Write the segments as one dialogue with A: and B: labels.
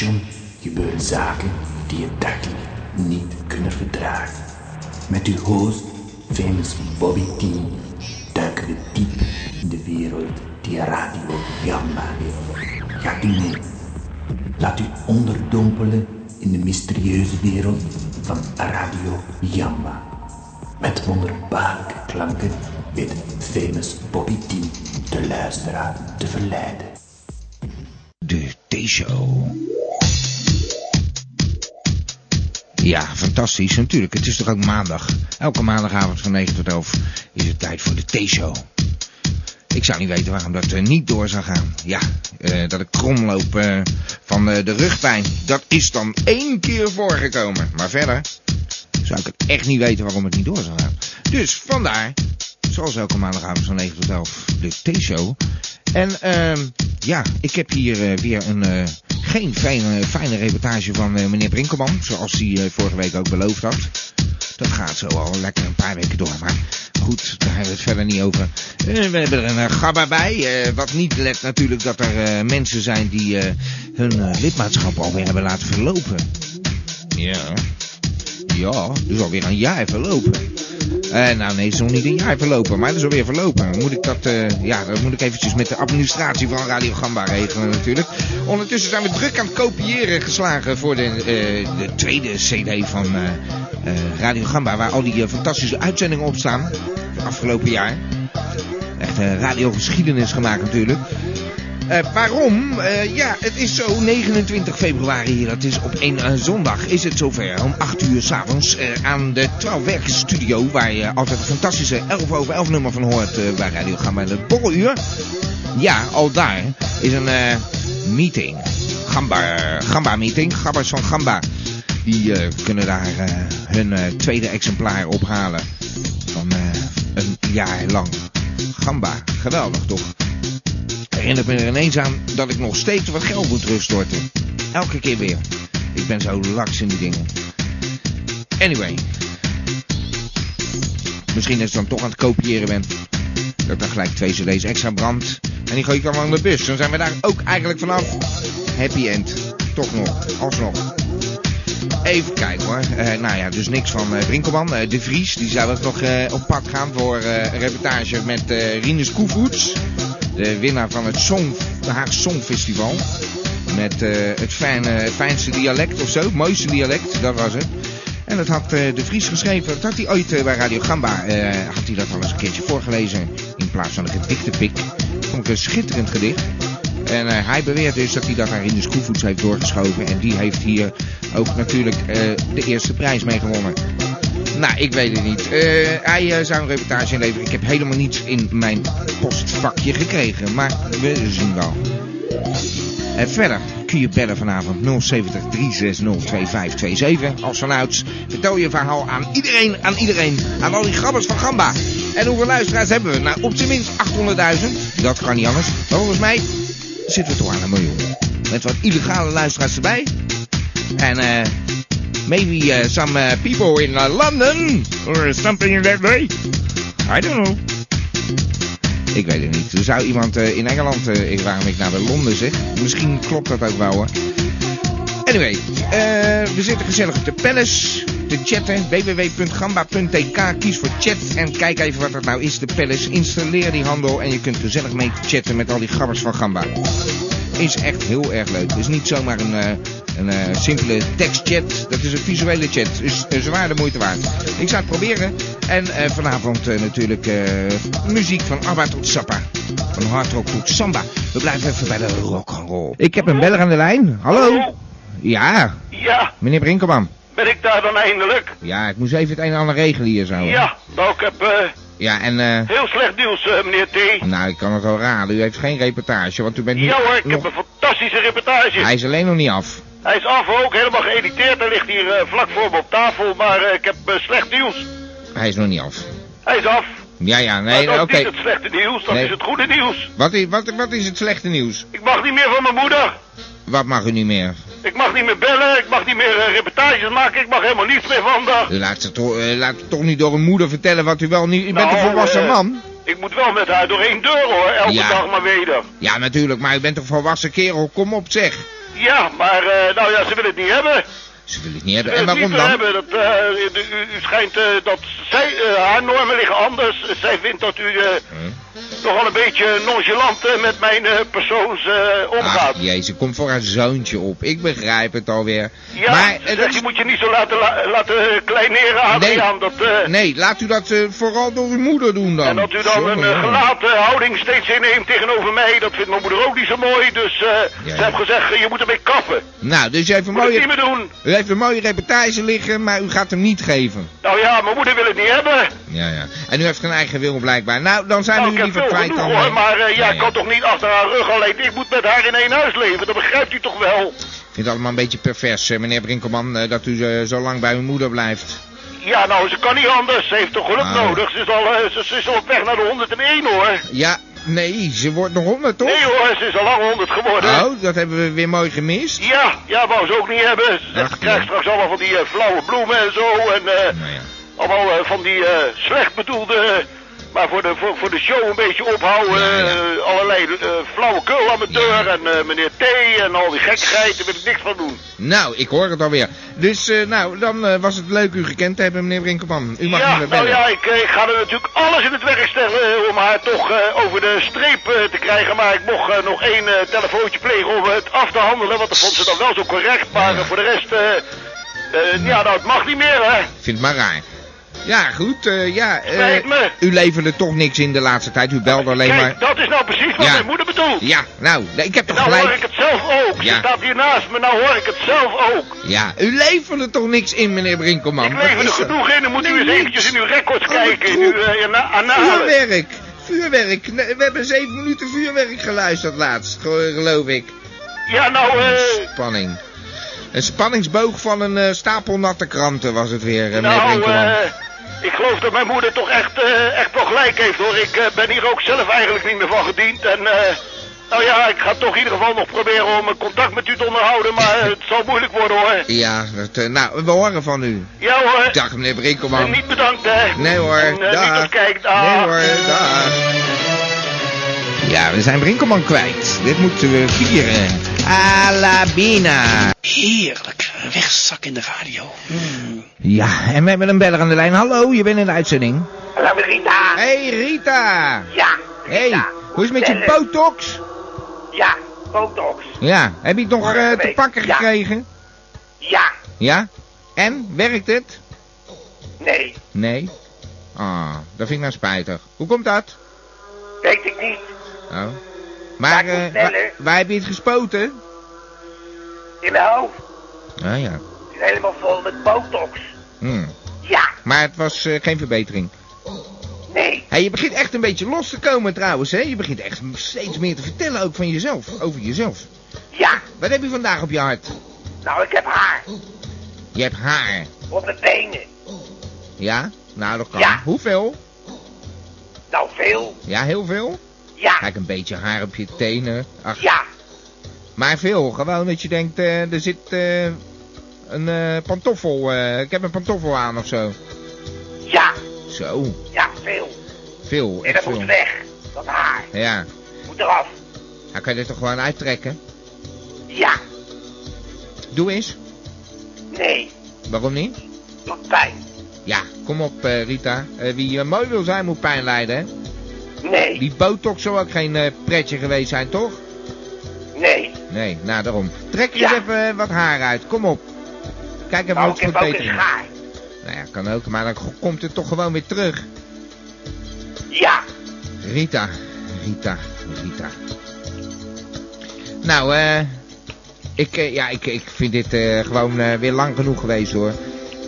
A: Eh,
B: gebeuren zaken die je dagelijks niet kunnen verdragen. Met uw host, famous Bobby T, duiken we diep in de wereld die Radio Gamma heeft. Gaat u mee? Laat u onderdompelen in de mysterieuze wereld van Radio Jamba. Met wonderbaarlijke klanken weet famous Bobby T de luisteraar te verleiden.
A: De T-show. Ja, fantastisch. Natuurlijk, het is toch ook maandag. Elke maandagavond van 9 tot 11 is het tijd voor de T-show. Ik zou niet weten waarom dat eh, niet door zou gaan. Ja, eh, dat ik krom loop eh, van eh, de rugpijn. Dat is dan één keer voorgekomen. Maar verder zou ik het echt niet weten waarom het niet door zou gaan. Dus vandaar, zoals elke maandagavond van 9 tot 11, de T-show. En ehm, ja, ik heb hier eh, weer een eh, geen fijne, fijne reportage van eh, meneer Brinkelman. Zoals hij eh, vorige week ook beloofd had. Dat gaat zo al lekker een paar weken door. Maar goed, daar hebben we het verder niet over. Eh, we hebben er een eh, gabba bij. eh, wat niet let natuurlijk dat er eh, mensen zijn die eh, hun eh, lidmaatschap alweer hebben laten verlopen. Ja. Ja, dus alweer een jaar verlopen. Eh, nou nee, het is nog niet een jaar verlopen, maar het is alweer verlopen. Moet ik dat, eh, ja, dat moet ik eventjes met de administratie van Radio Gamba regelen natuurlijk. Ondertussen zijn we druk aan het kopiëren geslagen voor de, eh, de tweede cd van eh, eh, Radio Gamba. Waar al die eh, fantastische uitzendingen op staan, afgelopen jaar. Echt eh, radiogeschiedenis gemaakt natuurlijk. Eh, waarom? Eh, ja, het is zo 29 februari hier. Dat is op een eh, zondag. Is het zover? Om 8 uur s'avonds eh aan de Twaalfwerkstudio. Waar je altijd een fantastische 11 over 11 nummer van hoort. eh bij Radio Gamba in het borreluur. Ja, al daar is een eh, meeting. Gamba, Gamba meeting. Gabbers van Gamba. Die eh, kunnen daar eh, hun eh, tweede exemplaar ophalen. Van eh, een jaar lang. Gamba. Geweldig toch? herinnert me er ineens aan dat ik nog steeds wat geld moet terugstorten. Elke keer weer. Ik ben zo laks in die dingen. Anyway. Misschien is het dan toch aan het kopiëren ben. Dat ik dan gelijk twee cd's extra brand. En die gooi ik dan wel in de bus. Dan zijn we daar ook eigenlijk vanaf. Happy end. Toch nog. Alsnog. Even kijken hoor. Eh, nou ja, dus niks van eh Brinkelman. Eh, de Vries, die zou dat nog eh, op pad gaan voor eh, een reportage met eh Rinus Koevoets. De winnaar van het Song, Haag Songfestival. Met eh, het fijne, het fijnste dialect of zo. Het mooiste dialect, dat was het. En dat had eh, De Vries geschreven. Dat had hij ooit eh, bij Radio Gamba. eh, had hij dat al eens een keertje voorgelezen. In plaats van een gedichtenpik. Vond ik een schitterend gedicht. En eh, hij beweert dus dat hij dat aan Rinus Koevoets heeft doorgeschoven. En die heeft hier ook natuurlijk eh, de eerste prijs mee gewonnen. Nou, ik weet het niet. Eh, hij eh, zou een reportage inleveren. Ik heb helemaal niets in mijn postvakje gekregen. Maar we zien wel. En verder kun je bellen vanavond 070 360 2527. Als vanouds vertel je verhaal aan iedereen, aan iedereen, aan al die grabbers van Gamba. En hoeveel luisteraars hebben we? Nou, op zijn minst 800.000. Dat kan niet anders. Maar volgens mij zitten we toch aan een miljoen. Met wat illegale luisteraars erbij. En eh, maybe eh, some eh, people in eh, London or something in that way. I don't know. Ik weet het niet. Er zou iemand eh, in Engeland, eh, ik- waarom ik naar de Londen zeg. Misschien klopt dat ook wel hoor. Anyway, eh, we zitten gezellig op de Palace te chatten. www.gamba.tk. Kies voor chat en kijk even wat dat nou is, de Palace. Installeer die handel en je kunt gezellig mee chatten met al die gabbers van Gamba. Is echt heel erg leuk. Het is niet zomaar een, eh, een eh, simpele tekstchat. Dat is een visuele chat. Is eh, zwaar de moeite waard. Ik zou het proberen. En eh, vanavond eh, natuurlijk eh, muziek van ABBA tot Sappa. Van hardrock tot samba. We blijven even bij de rock'n'roll. Ik heb een beller aan de lijn. Hallo. Ja,
C: Ja,
A: meneer Brinkelman.
C: ben ik daar dan eindelijk?
A: Ja, ik moest even het een en ander regelen hier zo. hè.
C: Ja, nou ik heb eh,
A: Ja, en Oh. eh.
C: heel slecht nieuws, eh, meneer T.
A: Nou, ik kan het al raden. U heeft geen reportage, want u bent niet...
C: Ja hoor, ik heb een
A: nog...
C: fantastische reportage.
A: Hij is alleen nog niet af.
C: Hij is af ook, helemaal geëditeerd. Hij ligt hier eh, vlak voor me op tafel, maar eh, ik heb eh, slecht nieuws.
A: Hij is nog niet af.
C: Hij is af.
A: Ja, ja,
C: Maar
A: nee,
C: dat
A: oké.
C: is niet het slechte nieuws, dat
A: Nee.
C: is het goede nieuws.
A: Wat, i- wat, wat is het slechte nieuws?
C: Ik mag niet meer van mijn moeder.
A: Wat mag u niet meer?
C: Ik mag niet meer bellen, ik mag niet meer eh, reportages maken, ik mag helemaal niets meer vandaag.
A: U laat, ze toch, eh, laat toch niet door een moeder vertellen wat u wel niet... U bent
C: Nou,
A: een volwassen
C: eh,
A: man?
C: Ik moet wel met haar door één deur hoor, elke
A: Ja.
C: dag maar weder.
A: Ja, natuurlijk, maar u bent een volwassen kerel. Kom op, zeg.
C: Ja, maar eh, nou ja, ze willen het niet hebben.
A: Ze willen het niet hebben.
C: Ze
A: En
C: willen het
A: waarom
C: niet
A: dan?
C: Hebben. Dat, eh, u, u- u schijnt eh, dat zij, eh, haar normen liggen anders. Zij vindt dat u eh,
A: Hm.
C: nogal een beetje nonchalant eh, met mijn eh, persoons eh, omgaat.
A: Ah, jezus, komt voor haar zoontje op. Ik begrijp het alweer.
C: ja,
A: maar,
C: ze
A: eh,
C: zegt, je moet je niet zo laten, la- laten eh, kleineren, Adriaan. Dat, eh,
A: nee, laat u dat eh, vooral door uw moeder doen dan.
C: En dat u dan
A: Jongen,
C: een eh,
A: jongen.
C: gelaten houding steeds inneemt tegenover mij, dat vindt mijn moeder ook niet zo mooi. Dus eh,
A: Ja.
C: ze heeft gezegd, eh, je moet ermee kappen.
A: Nou, dus u heeft, een
C: Moet het niet
A: mooie,
C: meer doen.
A: u heeft een mooie reportage liggen, maar u gaat hem niet geven.
C: Nou ja, mijn moeder wil het niet hebben.
A: Ja, ja. En u heeft geen eigen wil blijkbaar. Nou, dan zijn
C: Nou,
A: we
C: ik
A: u
C: heb
A: liever
C: veel
A: kwijt
C: genoeg
A: dan...
C: hoor,
A: eh,
C: maar eh, ja,
A: ja,
C: ik kan toch niet achter haar rug alleen. Ik moet met haar in één huis leven, dat begrijpt u toch wel?
A: Ik vind het allemaal een beetje pervers, eh, meneer Brinkelman, eh, dat u eh, zo lang bij uw moeder blijft.
C: Ja, nou, ze kan niet anders. Ze heeft toch geluk
A: Ah.
C: nodig. Ze is, al, eh, ze, ze is al op weg naar de 101 hoor.
A: Ja, nee, ze wordt nog honderd, toch?
C: Nee hoor, ze is al lang 100 geworden.
A: Oh, dat hebben we weer mooi gemist.
C: Ja, ja, wou ze ook niet hebben. Ze
A: Ach,
C: krijgt
A: ja.
C: straks allemaal van die eh, flauwe bloemen en zo. En eh,
A: Nou ja.
C: allemaal eh, van die eh, slecht bedoelde, eh, maar voor de, voor, voor de show een beetje ophouden.
A: Ja, ja.
C: eh, allerlei flauwe flauwekul amateur en eh, meneer T en al die gekheid. Daar wil ik niks van doen.
A: Nou, ik hoor het alweer. Dus, eh, nou, dan eh, was het leuk u gekend te hebben, meneer Brinkelman. U mag
C: ja,
A: niet meer bellen.
C: nou ja, ik, eh, ik ga er natuurlijk alles in het werk stellen eh, om haar toch eh, over de streep eh, te krijgen. Maar ik mocht eh, nog één eh, telefoontje plegen om het af te handelen. Want dat vond ze dan wel zo correct. Maar eh, voor de rest, eh, eh, ja, nou, het mag niet meer, hè.
A: Ik vind het maar raar. Ja, goed, eh, ja. eh,
C: Spijt me.
A: u leverde toch niks in de laatste tijd. U belde alleen
C: Kijk,
A: maar...
C: dat is nou precies wat
A: Ja.
C: mijn moeder bedoelt.
A: Ja, nou, nee, ik heb toch
C: Nou hoor ik
A: gelijk.
C: het zelf ook.
A: Ja.
C: Je staat hier naast me, nou hoor ik het zelf ook.
A: Ja, u leverde toch niks in, meneer Brinkelman.
C: ik lever
A: Wat
C: er
A: is dat?
C: genoeg in, dan moet
A: Nee,
C: u eens
A: niks.
C: eventjes in uw records
A: Oh,
C: kijken. In uw
A: troep.
C: eh, ana- analen.
A: Vuurwerk. Vuurwerk. Nee, We hebben zeven minuten vuurwerk geluisterd laatst, ge- geloof ik.
C: Ja, nou, eh...
A: Spanning. Een spanningsboog van een eh, stapel natte kranten was het weer, eh, meneer
C: Nou,
A: Brinkelman.
C: eh, ik geloof dat mijn moeder toch echt, eh, echt wel gelijk heeft hoor. Ik eh, ben hier ook zelf eigenlijk niet meer van gediend. En eh, nou ja, ik ga toch in ieder geval nog proberen om eh, contact met u te onderhouden. Maar eh, het zal moeilijk worden hoor.
A: Ja, dat, eh, nou, we horen van u.
C: Ja hoor.
A: Dag, meneer
C: En
A: Brinkelman.
C: niet bedankt hè.
A: Nee hoor,
C: En, eh,
A: dag.
C: niet op kijk, dag.
A: Nee hoor, dag. Ja, we zijn Brinkelman kwijt. Dit moeten we vieren. Alabina.
D: Heerlijk. Een Wegzak in de radio. Mm.
A: Ja, en we hebben een beller aan de lijn. Hallo, je bent in de uitzending.
E: Hallo Rita.
A: Hey Rita.
E: Ja.
A: Hey,
E: Rita.
A: hoe is het met je
E: Eh,
A: botox?
E: Ja, botox.
A: Ja, heb je het nog eh, te pakken
E: Ja.
A: gekregen?
E: Ja.
A: Ja? En, werkt het?
E: Nee,
A: Nee. Ah, dat vind ik nou spijtig. Hoe komt dat?
E: weet ik niet.
A: Oh. Maar
E: ik moet
A: eh,
E: bellen.
A: waar, waar heb je het gespoten?
E: In mijn hoofd
A: Ah ja.
E: is het helemaal vol met botox.
A: Hm.
E: Ja,
A: Maar het was eh, geen verbetering.
E: nee.
A: Hey, je begint echt een beetje los te komen trouwens, hè? Je begint echt steeds meer te vertellen ook van jezelf, over jezelf.
E: Ja.
A: Wat heb je vandaag op je hart?
E: Nou, ik heb haar.
A: Je hebt haar.
E: Op mijn benen.
A: Ja? Nou, dat kan.
E: Ja.
A: Hoeveel?
E: Nou, veel.
A: Ja, heel veel?
E: Ja.
A: Kijk, een beetje haar op je tenen. Ach,
E: Ja.
A: Maar veel, gewoon dat je denkt, eh, er zit eh, een eh, pantoffel, eh, ik heb een pantoffel aan of zo.
E: Ja.
A: Zo,
E: Ja, veel.
A: veel,
E: En
A: Oh, echt
E: dat
A: veel.
E: moet weg. Dat haar.
A: Ja,
E: Moet eraf.
A: dan kan je dit toch gewoon uittrekken?
E: Ja.
A: Doe eens.
E: Nee.
A: Waarom niet?
E: Doet pijn.
A: Ja, kom op eh, Rita. Eh, wie eh, mooi wil zijn moet pijn lijden, hè?
E: Nee.
A: Die botox zou ook geen eh, pretje geweest zijn, toch?
E: Nee.
A: Nee, nou daarom. Trek eens
E: Ja.
A: even eh, wat haar uit, kom op. Kijk even
E: Nou,
A: wat
E: ik
A: voor
E: heb ook een
A: beter
E: schaar.
A: Nou ja, kan ook, maar dan komt het toch gewoon weer terug.
E: Ja.
A: Rita, Rita, Rita. Nou, eh. ik, eh, ja, ik, ik vind dit eh, gewoon eh, weer lang genoeg geweest hoor.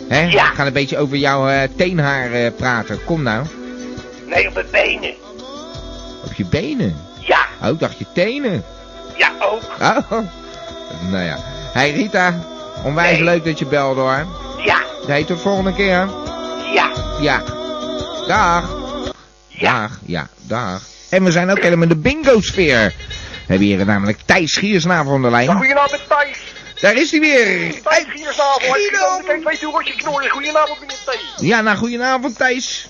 A: Hè?
E: Ja.
A: We gaan een beetje over jouw eh, teenhaar eh, praten. Kom nou.
E: Nee, op mijn benen.
A: Op je benen.
E: Ja.
A: Oh, ik dacht je tenen.
E: Ja, ook.
A: Oh. Nou ja. Hey Rita, onwijs
E: Hey.
A: leuk dat je belde hoor.
E: Ja.
A: Heet tot volgende keer.
E: Ja.
A: Ja. Dag.
E: Ja.
A: Dag, ja, dag. En we zijn ook helemaal in de bingo-sfeer. We hebben hier namelijk Thijs Giersnavel aan de lijn.
F: Goedenavond met Thijs.
A: Daar is hij weer.
F: Thijs Giersnavel. Hij
A: Guido.
F: kan meteen twee toertjes knorren. Goedenavond meneer Thijs.
A: Ja, nou, goedenavond Thijs.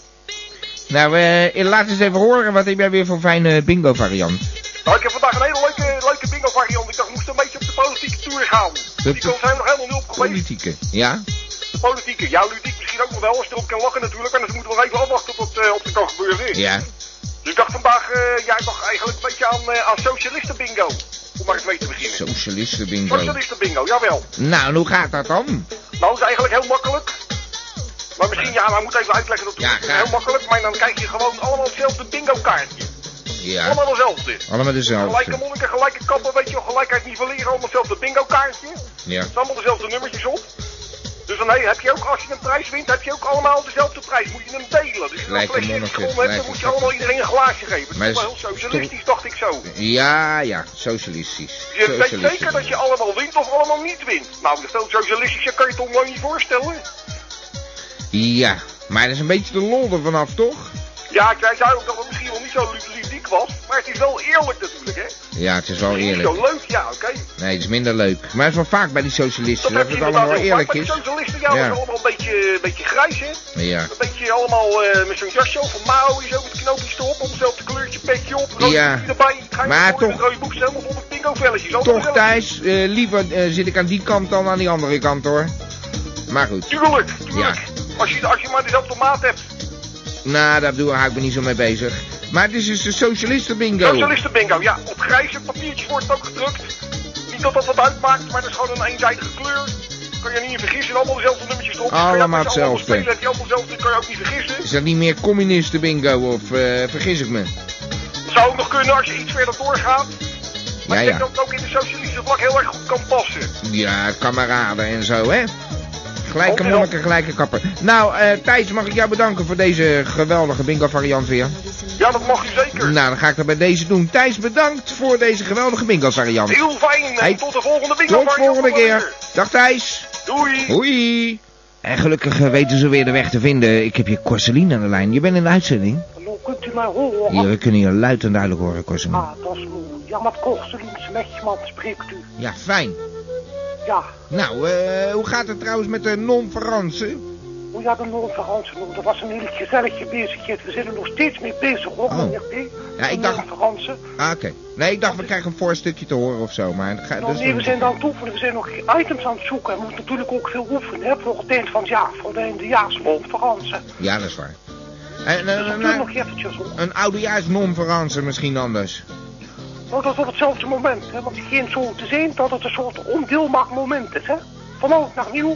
A: Nou, eh, laat eens even horen wat heb jij weer voor fijne bingo-variant.
F: Nou, ik heb vandaag een hele leuke, leuke bingo variant. Ik dacht, ik moest een beetje op de politieke Boer houden. Die
A: De
F: komt helemaal helemaal niet opgewezen.
A: politieke. Ja?
F: Politieke. Ja, ludiek misschien ook nog wel, als je erop kan lachen natuurlijk. En dat moeten we nog even afwachten tot eh, op de kan gebeuren is.
A: Ja.
F: Dus ik dacht vandaag, eh, ja, ik dacht eigenlijk een beetje aan, eh, aan socialisten bingo. Om maar eens mee te beginnen.
A: Socialisten bingo.
F: Socialisten bingo, jawel.
A: Nou, en hoe gaat dat dan?
F: Nou, dat is eigenlijk heel makkelijk. Maar misschien, ja, maar moet even uitleggen dat
A: Ja,
F: het
A: graag.
F: heel makkelijk. Maar dan krijg je gewoon allemaal hetzelfde bingo kaartje.
A: Ja.
F: Allemaal hetzelfde.
A: Allemaal
F: Gelijke
A: dezelfde.
F: monniken, gelijke kappen, weet je wel, gelijkheid nivelleren, allemaal hetzelfde bingo kaartje.
A: Ja.
F: Er staan allemaal dezelfde nummertjes op. Dus dan hey, heb je ook, als je een prijs wint, heb je ook allemaal dezelfde prijs. Moet je hem delen. Dus als je een
A: Gelijke
F: flesje
A: monniken,
F: gewonnen hebt,
A: gelijke
F: dan moet je
A: kappen.
F: allemaal iedereen een glaasje geven.
A: Maar
F: Dat is wel
A: is-
F: heel socialistisch, dacht ik zo.
A: Ja, ja. Socialistisch.
F: Je weet
A: Socialistisch.
F: zeker dat je allemaal wint of allemaal niet wint. Nou, veel socialistischer kan je het online niet voorstellen.
A: Ja. Maar dat is een beetje de lol er vanaf, toch?
F: Ja, ik zei ook dat het misschien wel niet zo lu- ludiek was, maar het is wel eerlijk natuurlijk, hè?
A: Ja, het is wel
F: Het is
A: eerlijk.
F: Zo leuk, ja, oké.
A: Nee, het is minder leuk. Maar het is wel vaak bij die
F: Dat
A: socialisten dat
F: heb je
A: het
F: inderdaad
A: allemaal wel
F: heel vaak,
A: eerlijk
F: maar die
A: is.
F: socialisten, ja,
A: Ja.
F: dat is allemaal een beetje, een beetje grijs, hè?
A: Ja.
F: Een beetje allemaal eh, met zo'n jasje of een mouw, zo met knoopjes erop, op hetzelfde kleurtje, petje op, rood
A: Ja.
F: kopje erbij. Ga je
A: Maar
F: voor in het
A: toch-
F: rode boek helemaal onder bingo-velletjes. allemaal
A: Toch,
F: zelf.
A: Thijs, eh, liever eh, zit ik aan die kant dan aan die andere kant, hoor. Maar goed.
F: Tuurlijk, tuurlijk. Als, je, als je maar dezelfde maat hebt.
A: Nou, daar bedoel- hou ik me niet zo mee bezig. Maar het is dus de socialisten bingo.
F: Socialisten bingo, ja. Op grijze papiertjes wordt het ook gedrukt. Niet dat dat wat uitmaakt, maar dat is gewoon een eenzijdige kleur. Kan je niet in vergissen, allemaal dezelfde nummertjes erop.
A: Allemaal
F: Ja, als je
A: hetzelfde.
F: Spelen, heb je allemaal dezelfde, kan je ook niet vergissen.
A: Is dat niet meer communisten bingo of eh, vergis ik me?
F: Dat zou ook nog kunnen als je iets verder doorgaat. Maar
A: Ja,
F: ik denk dat
A: ja.
F: het ook in de socialistische vlak heel erg goed kan passen.
A: Ja, kameraden en zo, hè? Gelijke
F: Ook wel.
A: monniken, gelijke kapper. Nou, eh, Thijs, mag ik jou bedanken voor deze geweldige bingo-variant weer?
F: Ja, dat mag u zeker.
A: Nou, dan ga ik dat bij deze doen. Thijs, bedankt voor deze geweldige bingo-variant.
F: Heel fijn. en
A: Hey,
F: tot de volgende winkel.
A: Tot volgende keer. Dag Thijs.
F: Doei.
A: Hoi. En gelukkig eh, weten ze weer de weg te vinden. Ik heb je Corseline aan de lijn. Je bent in de uitzending.
G: Hallo, kunt u mij horen?
A: Hier, we kunnen je luid en duidelijk horen, Corseline.
G: Ah, dat is mooi. Ja, met Korselings Mechman spreekt u.
A: Ja, fijn.
G: Ja,
A: Nou, eh, hoe gaat het trouwens met de non-Fransen?
G: hoe Oh ja, de non-Fransen noemen. Dat was een heel gezellige bezigheid. We zijn er nog steeds mee bezig, hoor,
A: Oh.
G: meneer P.
A: Ja, ik
G: De
A: dacht-
G: non-Fransen.
A: Ah, oké. Nee, ik dacht we krijgen een voorstukje te horen of zo, maar... dat Ga,
G: Nou,
A: dat is
G: nee, we
A: niet-
G: zijn dan toe, we zijn nog items aan het zoeken. En we moeten natuurlijk ook veel oefenen, hè, voor het eind van het jaar. Voor de eindejaars non-Fransen.
A: Ja, dat is waar. En,
G: Dus
A: eh,
G: dat
A: nou,
G: doet nog eventjes, hoor.
A: een oudejaars non-Fransen misschien anders.
G: Nou, dat is op hetzelfde moment, hè. Want het geen zo te zijn dat het een soort ondeelbaar moment is, hè. Van oud naar nieuw,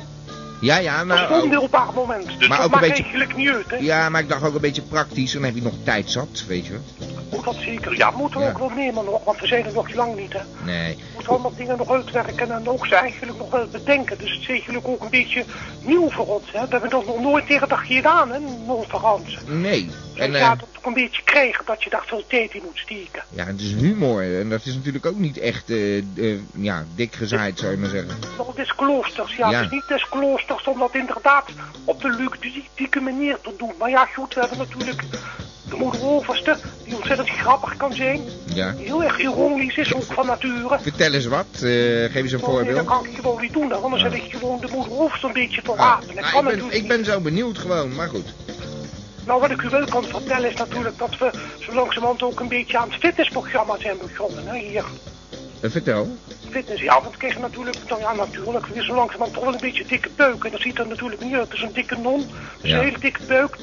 A: Ja, ja,
G: dat is
A: nou...
G: een ondeelbaar moment. Dus
A: Maar ook
G: dat
A: een
G: maakt
A: beetje-
G: eigenlijk niet uit, hè.
A: Ja, maar ik dacht ook een beetje praktisch, dan heb je nog tijd zat, weet je wel.
G: Moet dat zeker. Ja, moeten we
A: Ja.
G: ook wel nemen nog, want we zijn er nog lang niet, hè.
A: Nee.
G: We moeten allemaal dingen nog uitwerken en ook ze eigenlijk nog wel bedenken. Dus het is eigenlijk ook een beetje nieuw voor ons, hè. We hebben dat nog nooit tegen dag gedaan, hè, non-verantse.
A: Nee. En
G: En
A: eh,
G: je gaat het ook een beetje krijgen dat je daar veel tijd in moet steken.
A: ja, het is humor. En dat is natuurlijk ook niet echt eh, eh, ja, dik gezaaid, zou je maar zeggen.
G: Nog des kloosters, ja.
A: Ja.
G: Het is niet des kloosters om dat inderdaad op de ludieke manier te doen. Maar ja, goed, we hebben natuurlijk de moeder overste, die ontzettend grappig kan zijn.
A: Ja.
G: Die heel erg ironisch is, ook van nature.
A: Vertel eens wat. eh, geef eens een
G: Nee, dat
A: voorbeeld.
G: kan ik gewoon niet doen, hè, anders heb ik gewoon de moeder hoofd een beetje te
A: Ah,
G: rapen. Dat
A: nou,
G: kan
A: ik, ben,
G: natuurlijk
A: ik ben zo benieuwd gewoon, maar goed.
G: niet. Nou, wat ik u wel kan vertellen is natuurlijk dat we zo langzamerhand ook een beetje aan het fitnessprogramma zijn begonnen. Hè, hier,
A: Eh, vertel.
G: fitness, ja, want we kregen natuurlijk, nou ja, natuurlijk, weer zo langzamerhand toch wel een beetje dikke buik. En dat ziet er natuurlijk niet uit, het is een dikke non, het is
A: Ja.
G: een hele dikke buik.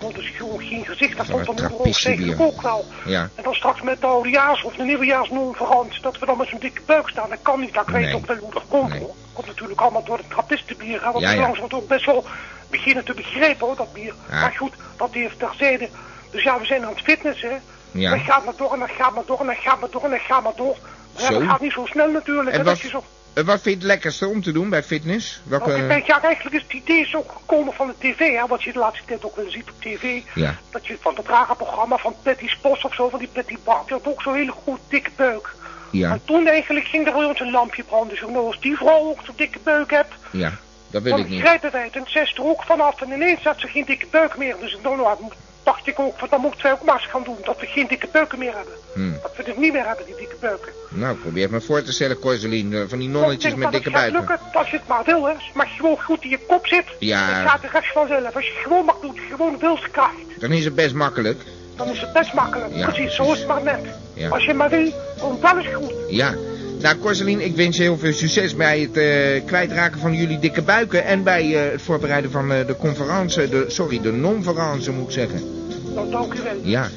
G: Want het is gewoon geen gezicht, dat
A: Ja,
G: vond de
A: maar
G: moeder hoofd
A: trappisten
G: eigenlijk
A: hier.
G: ook wel.
A: Ja.
G: En dan straks met de oudejaars of de nieuwejaarsnoem veranderd, dat we dan met zo'n dikke buik staan. Dat kan niet, dat ik
A: Nee.
G: weet ook wel hoe dat komt
A: Nee.
G: hoor. Dat komt natuurlijk allemaal door het trappistenbier. Hè, want
A: Ja,
G: ja,
A: ja.
G: langzamerhand ook best wel beginnen te begrijpen hoor, dat bier.
A: Ja.
G: Maar goed, dat heeft terzijde. Dus ja, we zijn aan het fitnessen. hè.
A: Ja.
G: Dat gaat maar door en dat gaat maar door en dat gaat maar door en dat gaat maar door. Maar ja,
A: Zo.
G: dat gaat niet zo snel natuurlijk.
A: En
G: hè,
A: wat,
G: dat dus je zo...
A: eh, wat vind je het lekkerste om te doen bij fitness? Welke...
G: Want ik denk, ja, eigenlijk is het idee zo gekomen van de tv, hè, wat je de laatste tijd ook wel ziet op tv.
A: Ja.
G: Dat je van dat rare programma van Patty Spos of zo, van die Patty Bart, die had ook zo'n hele goed dikke buik.
A: Ja.
G: En toen eigenlijk ging er bij ons een lampje branden, zo nou, als die vrouw ook zo'n dikke buik hebt,
A: Ja, dat wil
G: dan
A: ik niet.
G: grijpen wij het en zij is er ook vanaf en ineens had ze geen dikke buik meer. Dus nou, nou, dacht ik ook, van, dan moeten wij ook maar eens gaan doen, dat we geen dikke buiken meer hebben.
A: Hmm.
G: Dat we het niet meer hebben, die dikke buiken.
A: Nou, probeer het maar voor te stellen, Corseline. eh, Van die
G: Want ik
A: nonnetjes
G: denk
A: met
G: dat
A: dikke
G: het gaat
A: buiken.
G: lukken als je het maar wil, hè. Als je gewoon goed in je kop zit,
A: Ja.
G: dan gaat de rest vanzelf. Als je het gewoon maar doet, gewoon wilskracht,
A: Dan is het best makkelijk.
G: dan is het best makkelijk.
A: Ja,
G: precies, zo
A: precies.
G: is het maar net.
A: Ja.
G: Als je maar wil, komt alles goed.
A: Ja. Nou, Corseline, ik wens je heel veel succes bij het eh, kwijtraken van jullie dikke buiken... en bij eh, het voorbereiden van eh, de conferentie, de, sorry, de non-verance moet ik zeggen.
G: Nou, dank u wel.
A: Ja.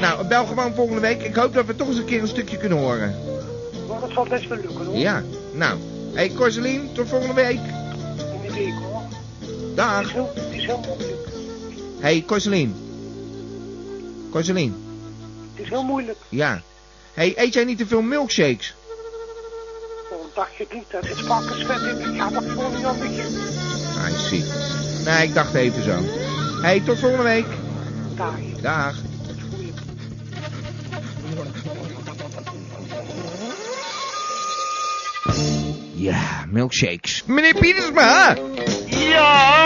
A: Nou, bel gewoon volgende week. Ik hoop dat we toch eens een keer een stukje kunnen horen.
G: Maar dat zal best wel lukken hoor.
A: Ja. Nou, hey Corseline, tot volgende week.
G: In die week hoor. Het
A: Dag.
G: is heel, het is heel moeilijk.
A: Hey Corseline. Corseline,
G: Het is heel moeilijk.
A: ja. Hey, eet jij niet te veel milkshakes?
G: Voor een dagje doet dat. Het varkensvet in. Ik ga dat gewoon niet aan met je.
A: I see. Nee, ik dacht even zo. Hey, tot volgende week.
G: Daar.
A: Dag. Ja, milkshakes. Meneer Pietersma!
C: Ja,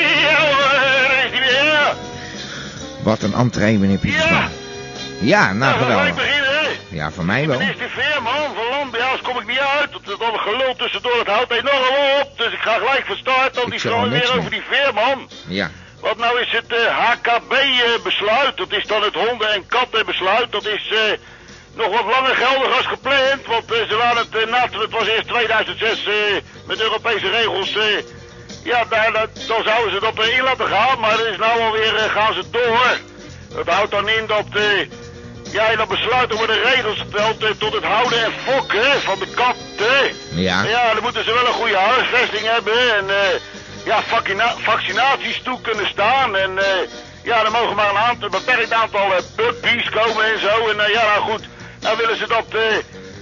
C: ja hoor, daar is hij weer.
A: Wat een entree, meneer Pietersma.
C: Ja.
A: Ja, nou
C: Ja, gelijk
A: geweldig.
C: beginnen, hè.
A: Ja, voor mij wel.
C: Het is die veer, man. Van land bij huis kom ik niet uit. Dat is al een gelul tussendoor. Het houdt enorm op. Dus ik ga gelijk van start. Dan
A: Ik
C: die
A: zeg al
C: vrouw
A: niks
C: weer
A: meer.
C: over die veer, man.
A: Ja.
C: Wat nou is het HKB-besluit? eh, Dat is dan het honden- en kattenbesluit. Dat is eh, nog wat langer geldig als gepland. Want eh, ze waren het eh, na, het was eerst 2006 eh, met Europese regels. eh, ja, daar, daar- dan zouden ze dat eh, in laten gaan. Maar er is nou alweer, eh, gaan ze door. Dat houdt dan in dat... eh, ja, in dat besluit worden regels gesteld eh, tot het houden en fokken van de kat. eh.
A: Ja.
C: Ja, dan moeten ze wel een goede huisvesting hebben en eh, ja, vaccina- vaccinaties toe kunnen staan. En eh, ja, er mogen maar een aantal, beperkt aantal eh, puppies komen en zo. En eh, ja, nou goed, nou willen ze dat, eh,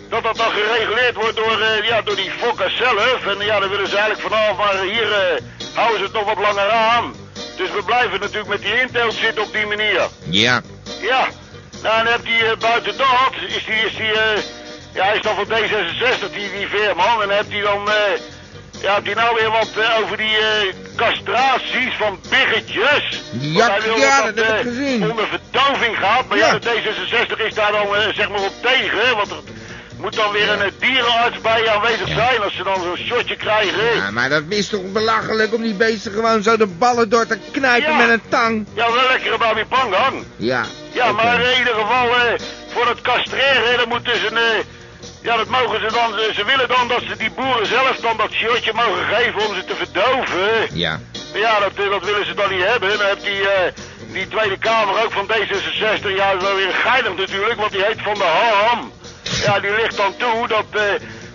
C: dat dat dan gereguleerd wordt door, eh, ja, door die fokkers zelf. En eh, ja, dan willen ze eigenlijk vanaf, maar hier eh, houden ze het nog wat langer aan. Dus we blijven natuurlijk met die inteelt zitten op die manier.
A: Ja.
C: Ja, nou en heb die eh, buiten dat, is die, is die, eh, ja, hij is dan van D66, die, die veerman. En heb die dan, eh, ja, heb die nou weer wat eh, over die eh, castraties van biggetjes.
A: Ja,
C: Want hij wil
A: ja, dat
C: eh,
A: heb ik gezien.
C: onder verdoving gaat, maar ja,
A: Ja.
C: de D66 is daar dan eh, zeg maar op tegen, hè, want er moet dan weer een eh, dierenarts bij aanwezig zijn als ze dan zo'n shotje krijgen.
A: Ja, maar dat is toch belachelijk om die beesten gewoon zo de ballen door te knijpen
C: Ja.
A: met een tang?
C: Ja, wel lekkere babi pangang.
A: Ja.
C: Ja,
A: oké.
C: maar in ieder geval eh, voor het castreren, dan moeten ze... eh, ja, dat mogen ze dan... Ze willen dan dat ze die boeren zelf dan dat shirtje mogen geven om ze te verdoven.
A: Ja.
C: Maar ja, dat, eh, dat willen ze dan niet hebben. Dan heb die, eh, die Tweede Kamer ook van D66, ja, dat is wel weer geinig natuurlijk, want die heet Van de Ham. Ja, die ligt dan toe dat... eh,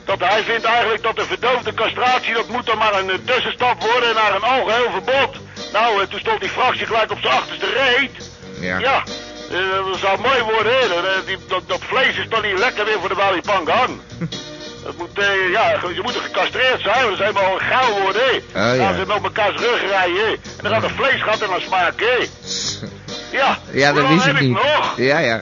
C: dat hij vindt eigenlijk dat de verdoofde castratie, dat moet dan maar een eh, tussenstap worden naar een algeheel verbod. Nou, eh, toen stond die fractie gelijk op zijn achterste reet.
A: Ja.
C: Ja, eh, dat zou mooi worden, hè. Dat, eh, die- dat, dat vlees is dan niet lekker weer voor de Wali Pangan. Dat moet, eh, ja, je moet er gecastreerd zijn, want dat is helemaal gauw worden, hè.
A: Oh, ja.
C: Dan gaan ze met elkaars rug rijden, hè. En dan gaat het vlees gaat er naar smaken, hè. Ja,
A: Ja,
C: hoe
A: dat
C: lang
A: wist ik
C: heb
A: niet.
C: ik nog?
A: Ja, ja.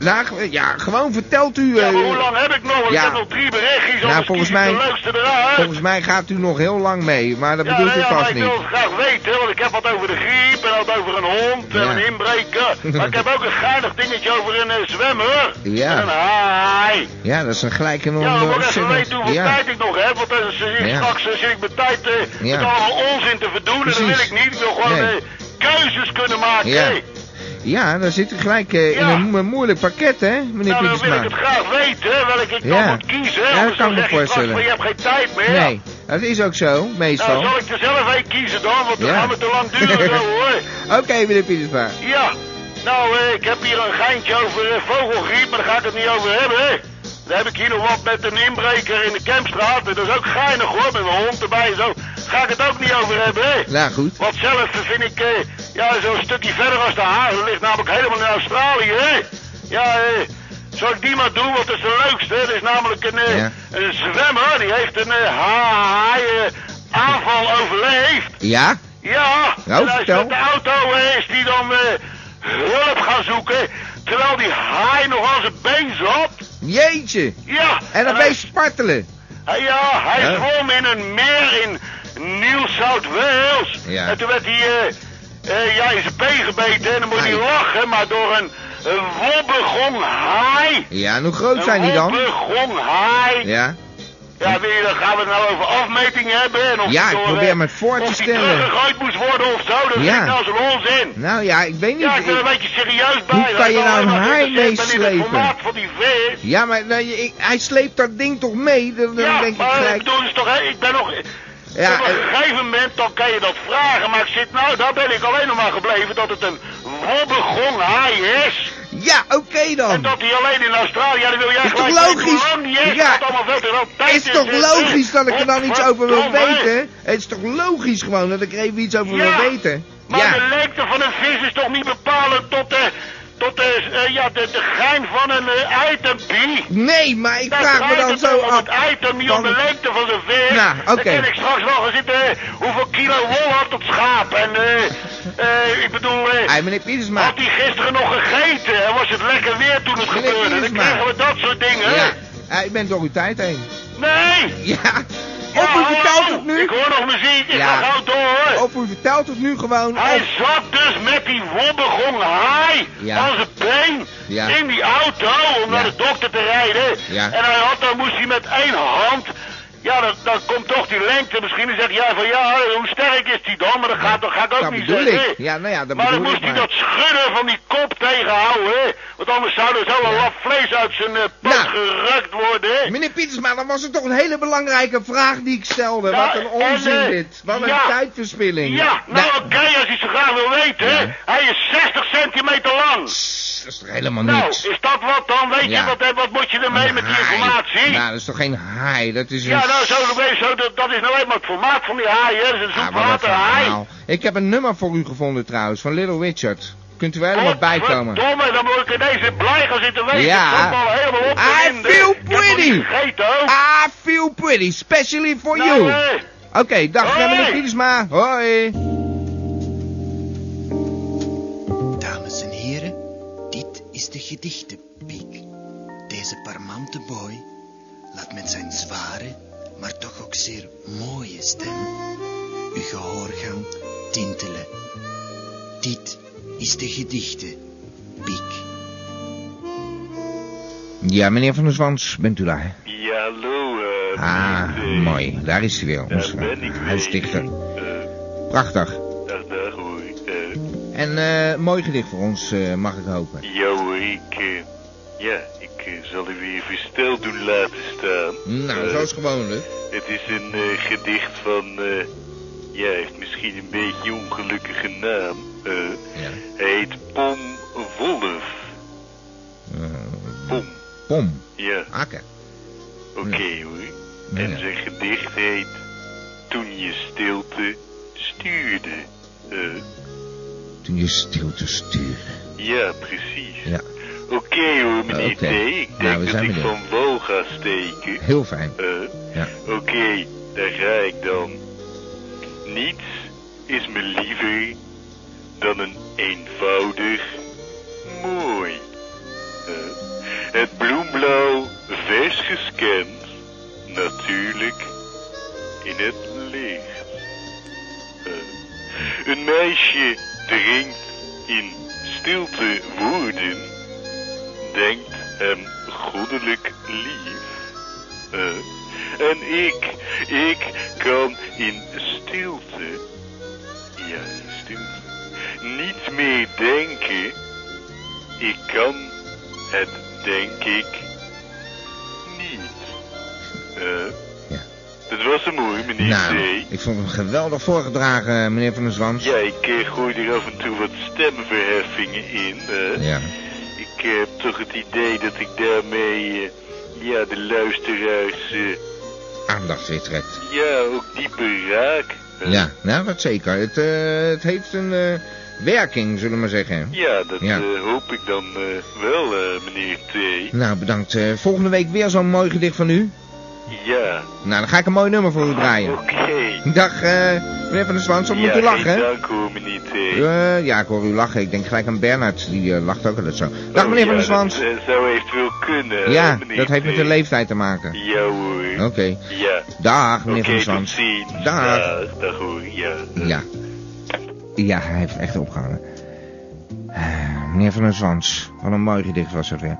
A: Nou, ge- ja, gewoon vertelt u.
C: Ja, maar
A: eh,
C: hoe lang heb ik nog? Want
A: Ja.
C: ik heb nog drie berichtjes,
A: Nou,
C: anders
A: volgens
C: kies ik
A: mij-
C: de leukste eruit.
A: volgens mij gaat u nog heel lang mee, maar dat
C: Ja,
A: bedoelt
C: nee,
A: u
C: ja, maar
A: vast
C: ik wil
A: niet.
C: het graag weten, want ik heb wat over de griep en wat over een hond en
A: Ja.
C: een inbreker. Maar ik heb ook een geinig dingetje over een eh, zwemmer. Ah,
A: Ja.
C: En een haai.
A: Ja, dat is een gelijke
C: nou. Ja, ik moet
A: eh,
C: even weten hoeveel
A: Ja.
C: tijd ik nog heb, want dan zit ik
A: Ja.
C: straks eh, zit ik mijn tijd eh,
A: Ja.
C: met allemaal onzin te verdoen en dat wil
A: Precies.
C: ik niet. Ik wil gewoon
A: Nee.
C: eh, keuzes kunnen maken.
A: Ja.
C: hè.
A: ja, dan zit u gleich eh, in
C: Ja.
A: een, mo- moeilijk pakket, hè, meneer
C: Nou, dan wil ik
A: Pietersma?
C: het graag weten, hè, welke ik
A: Ja.
C: dan moet kiezen.
A: Ja,
C: hè,
A: dat
C: anders
A: kan
C: dan
A: ik me
C: zeg je straks
A: voorstellen.
C: van, je hebt geen tijd meer.
A: Nee, dat is ook zo, meestal.
C: Nou, zal ik er zelf één kiezen dan, want dan
A: Ja.
C: gaan we te lang duren zo hoor.
A: Oké, meneer Pietersma.
C: Ja, nou, eh, ik heb hier een geintje over eh, vogelgriep, maar daar ga ik het niet over hebben. hè. Dan heb ik hier nog wat met een inbreker in de Kempstraat. Dat is ook geinig hoor, met een hond erbij en zo. Ga ik het ook niet over hebben, hè?
A: Nou, goed.
C: Want zelf vind ik, eh, ja, zo'n stukje verder als de haven ligt namelijk helemaal in Australië, hè? Ja, eh, zal ik die maar doen, want dat is de leukste. hè? Dat is namelijk een, eh,
A: Ja.
C: een zwemmer, die heeft een eh, haai eh, aanval overleefd.
A: Ja?
C: Ja,
A: Nou,
C: en hij is
A: vertel.
C: met de auto eh, is die dan eh, hulp gaan zoeken, terwijl die haai nog aan zijn been zat.
A: Jeetje.
C: Ja,
A: En dan ben
C: hij-
A: je spartelen.
C: hij- Ah, ja, hij
A: Hè?
C: zwom in een meer in New South Wales.
A: Ja.
C: En toen werd hij eh, eh, ja, in zijn been gebeten en dan moet hij
A: Ai.
C: lachen, maar door een, een wobbegong haai.
A: Ja, en hoe groot
C: Een
A: zijn die dan?
C: wobbegong haai.
A: Ja.
C: Ja, wil je, dan gaan we het nou over afmetingen hebben. En of
A: Ja,
C: die
A: ik
C: door,
A: probeer
C: eh,
A: me voor te
C: of die
A: stellen.
C: teruggegooid moest worden of zo. Dat
A: Ja.
C: is nou zo'n onzin.
A: Nou ja, ik weet niet.
C: Ja, ik ben
A: ik-
C: een beetje serieus bij.
A: Hoe
C: Hij
A: kan je
C: is
A: nou
C: alleen
A: een
C: maar
A: haar
C: geïnteresseerd in het
A: meeslepen?
C: formaat van die vis.
A: Ja, maar nou, je- ik- hij sleept dat ding toch mee? Dan, dan
C: Ja,
A: denk ik
C: maar ik
A: gelijk.
C: bedoel, is toch, hè, ik ben nog...
A: Ja,
C: op een
A: eh,
C: gegeven moment, dan kan je dat vragen. Maar ik zit nou, daar ben ik alleen nog maar gebleven dat het een wobbegong haai is.
A: ja oké
C: En
A: dan.
C: dat hij alleen in Australië, ja, dan wil jij
A: Is toch
C: gelijk weten hoe
A: logisch?
C: lang die is,
A: Ja.
C: wat allemaal veel te veel tijd
A: is toch
C: hè?
A: logisch dat ik er dan iets over wil
C: Godverdomme.
A: weten? Het is toch logisch gewoon dat ik er even iets over
C: Ja,
A: wil weten?
C: Maar
A: ja.
C: de lengte van een vis is toch niet bepalend tot de, tot de, eh, ja, de, de gein van een eh, itempie?
A: Nee, maar ik
C: Daar
A: vraag me
C: draait
A: dan
C: het
A: zo
C: om,
A: af.
C: Het item niet
A: Dan-
C: om de lengte van de vis.
A: Nou, oké.
C: Dan ken ik straks wel gaan zitten eh, hoeveel kilo wol had dat schaap. En eh, eh, ik bedoel, eh,
A: Hé, meneer Pietersma.
C: had hij gisteren nog gegeten? En was het lekker weer toen het
A: Meneer
C: gebeurde? Dan
A: Pietersma.
C: krijgen we dat soort dingen.
A: Ja. Eh, ik ben door uw tijd heen.
C: Nee!
A: Ja.
C: Ja,
A: Of u
C: hallo,
A: vertelt het nu.
C: Ik hoor nog muziek, ik
A: Ja.
C: ga gauw door.
A: Of u vertelt het nu gewoon.
C: Hij
A: of-
C: zat dus met die wobbegong haai
A: Ja.
C: aan zijn been
A: Ja.
C: in die auto om naar
A: Ja.
C: de dokter te rijden.
A: Ja.
C: En hij had, dan moest hij met één hand. Ja, dan, dan komt toch die lengte misschien. Dan zegt jij van ja, hoe sterk is die dan? Maar dat, gaat, dat ga ik ook
A: dat
C: niet
A: bedoel
C: zeggen.
A: ik. Ja, nou ja, dat
C: maar dan
A: bedoel
C: moest
A: ik
C: hij
A: maar.
C: dat schudden van die kop tegenhouden. Want anders zou er zo een lap vlees uit zijn eh, pas
A: Nou.
C: gerukt worden.
A: Meneer Pietersma, dan was het toch een hele belangrijke vraag die ik stelde.
C: Ja,
A: Wat een
C: en,
A: onzin
C: eh,
A: dit. Wat een
C: ja.
A: tijdverspilling.
C: Ja, nou oké, als je zo graag wil weten.
A: Ja.
C: Hij is 60 centimeter lang.
A: Pss, Dat is toch helemaal
C: Nou,
A: niks.
C: is dat wat dan? Weet
A: Ja.
C: je, wat, wat moet je ermee
A: Een
C: met die
A: haai.
C: informatie?
A: Nou, dat is toch geen haai, dat is een...
C: ja, nou, zo, zo, dat, dat is nou eenmaal het formaat van die haai, hè. Dat is een
A: Ah, wat een
C: zoetwaterhaai.
A: verhaal. Ik heb een nummer voor u gevonden trouwens, van Little Richard. Kunt u er helemaal bij komen?
C: Domme, dan moet ik in deze blij gaan zitten weten.
A: Ja.
C: Ik stond al helemaal op
A: I feel pretty.
C: Ik heb nog niet gegeten, hoor.
A: I feel pretty, specially for
C: Nou,
A: you.
C: eh,
A: Oké, dag
C: Hoi.
A: meneer Pietersma. Hoi.
H: Dames en heren, dit is de gedichtenpiek. Deze parmante boy laat met zijn zware, maar toch ook zeer mooie stem uw gehoor gaan tintelen. Dit is de gedichtenpiek.
A: Ja, meneer Van der Zwans, bent u daar?
I: Ja, hallo. eh,
A: Ah,
I: meneer.
A: mooi. Daar is hij weer, onze
I: eh, Daar ben ik weer.
A: huisdichter.
I: Eh,
A: Prachtig.
I: dag, dag hoor. Eh,
A: En eh, mooi gedicht voor ons, eh, mag ik hopen.
I: ja hoor, ik... eh, ja, ik eh, zal u weer versteld doen laten staan.
A: Nou,
I: Eh,
A: zoals gewoonlijk.
I: Het is een eh, gedicht van... eh, ja, hij heeft misschien een beetje ongelukkige naam. Eh,
A: Ja.
I: Hij heet Pom Wolf.
A: Eh,
I: Pom,
A: pom.
I: ja,
A: Akker.
I: oké hoor.
A: Ja,
I: En
A: ja.
I: zijn gedicht heet Toen je stilte stuurde. Eh,
A: Toen je stilte stuurde.
I: ja, precies.
A: Ja,
I: Oké hoor, meneer
A: Oké.
I: T. Ik
A: Nou,
I: denk
A: we
I: dat
A: zijn
I: ik
A: benieuwd.
I: van wal ga steken.
A: heel fijn.
I: Eh,
A: Ja.
I: Oké, daar ga ik dan. Niets is me liever dan een eenvoudig mooi. Eh, het bloemblauw vers gescand, natuurlijk in het licht. Eh, een meisje drinkt in stilte woorden, denkt hem goddelijk lief. Eh, en ik, ik kan in stilte, ja, in stilte, niet meer denken. Ik kan het, denk ik, niet. Eh,
A: Ja.
I: Dat was hem hoor, meneer
A: Nou,
I: D.
A: ik vond hem geweldig voorgedragen, meneer Van der Zwans.
I: Ja, ik eh, gooi er af en toe wat stemverheffingen in. eh.
A: Ja.
I: Ik eh, heb toch het idee dat ik daarmee eh, ja, de luisteraars eh,
A: Aandacht weer trekt.
I: ja, ook dieper raak. Eh,
A: Ja, nou, dat zeker. Het, eh, het heeft een eh, werking, zullen we maar zeggen.
I: Ja, dat
A: Ja.
I: eh, hoop ik dan eh, wel, eh, meneer T.
A: Nou, bedankt. Eh, volgende week weer zo'n mooi gedicht van u.
I: Ja,
A: Nou, dan ga ik een mooi nummer voor u draaien.
I: oké.
A: Dag, eh, meneer Van der Zwans, wat
I: ja,
A: moet u lachen?
I: geen dank hoor, meneer T.
A: Eh, ja, ik hoor u lachen. Ik denk gelijk aan Bernard. Die eh, lacht ook altijd zo. Dag,
I: Oh,
A: meneer Van
I: ja,
A: der Zwans.
I: Dat eh, zou eventueel kunnen.
A: ja,
I: hè, eh, meneer
A: dat heeft met
I: T.
A: de leeftijd te maken.
I: Ja hoor.
A: Oké.
I: Ja,
A: Dag, meneer Van
I: oké,
A: der
I: tot
A: Zwans.
I: ziens.
A: Dag.
I: Dag, dag hoor, ja.
A: Ja. Ja, hij heeft echt opgehangen. Eh, Meneer Van der Zwans, wat een mooi gedicht was dat weer.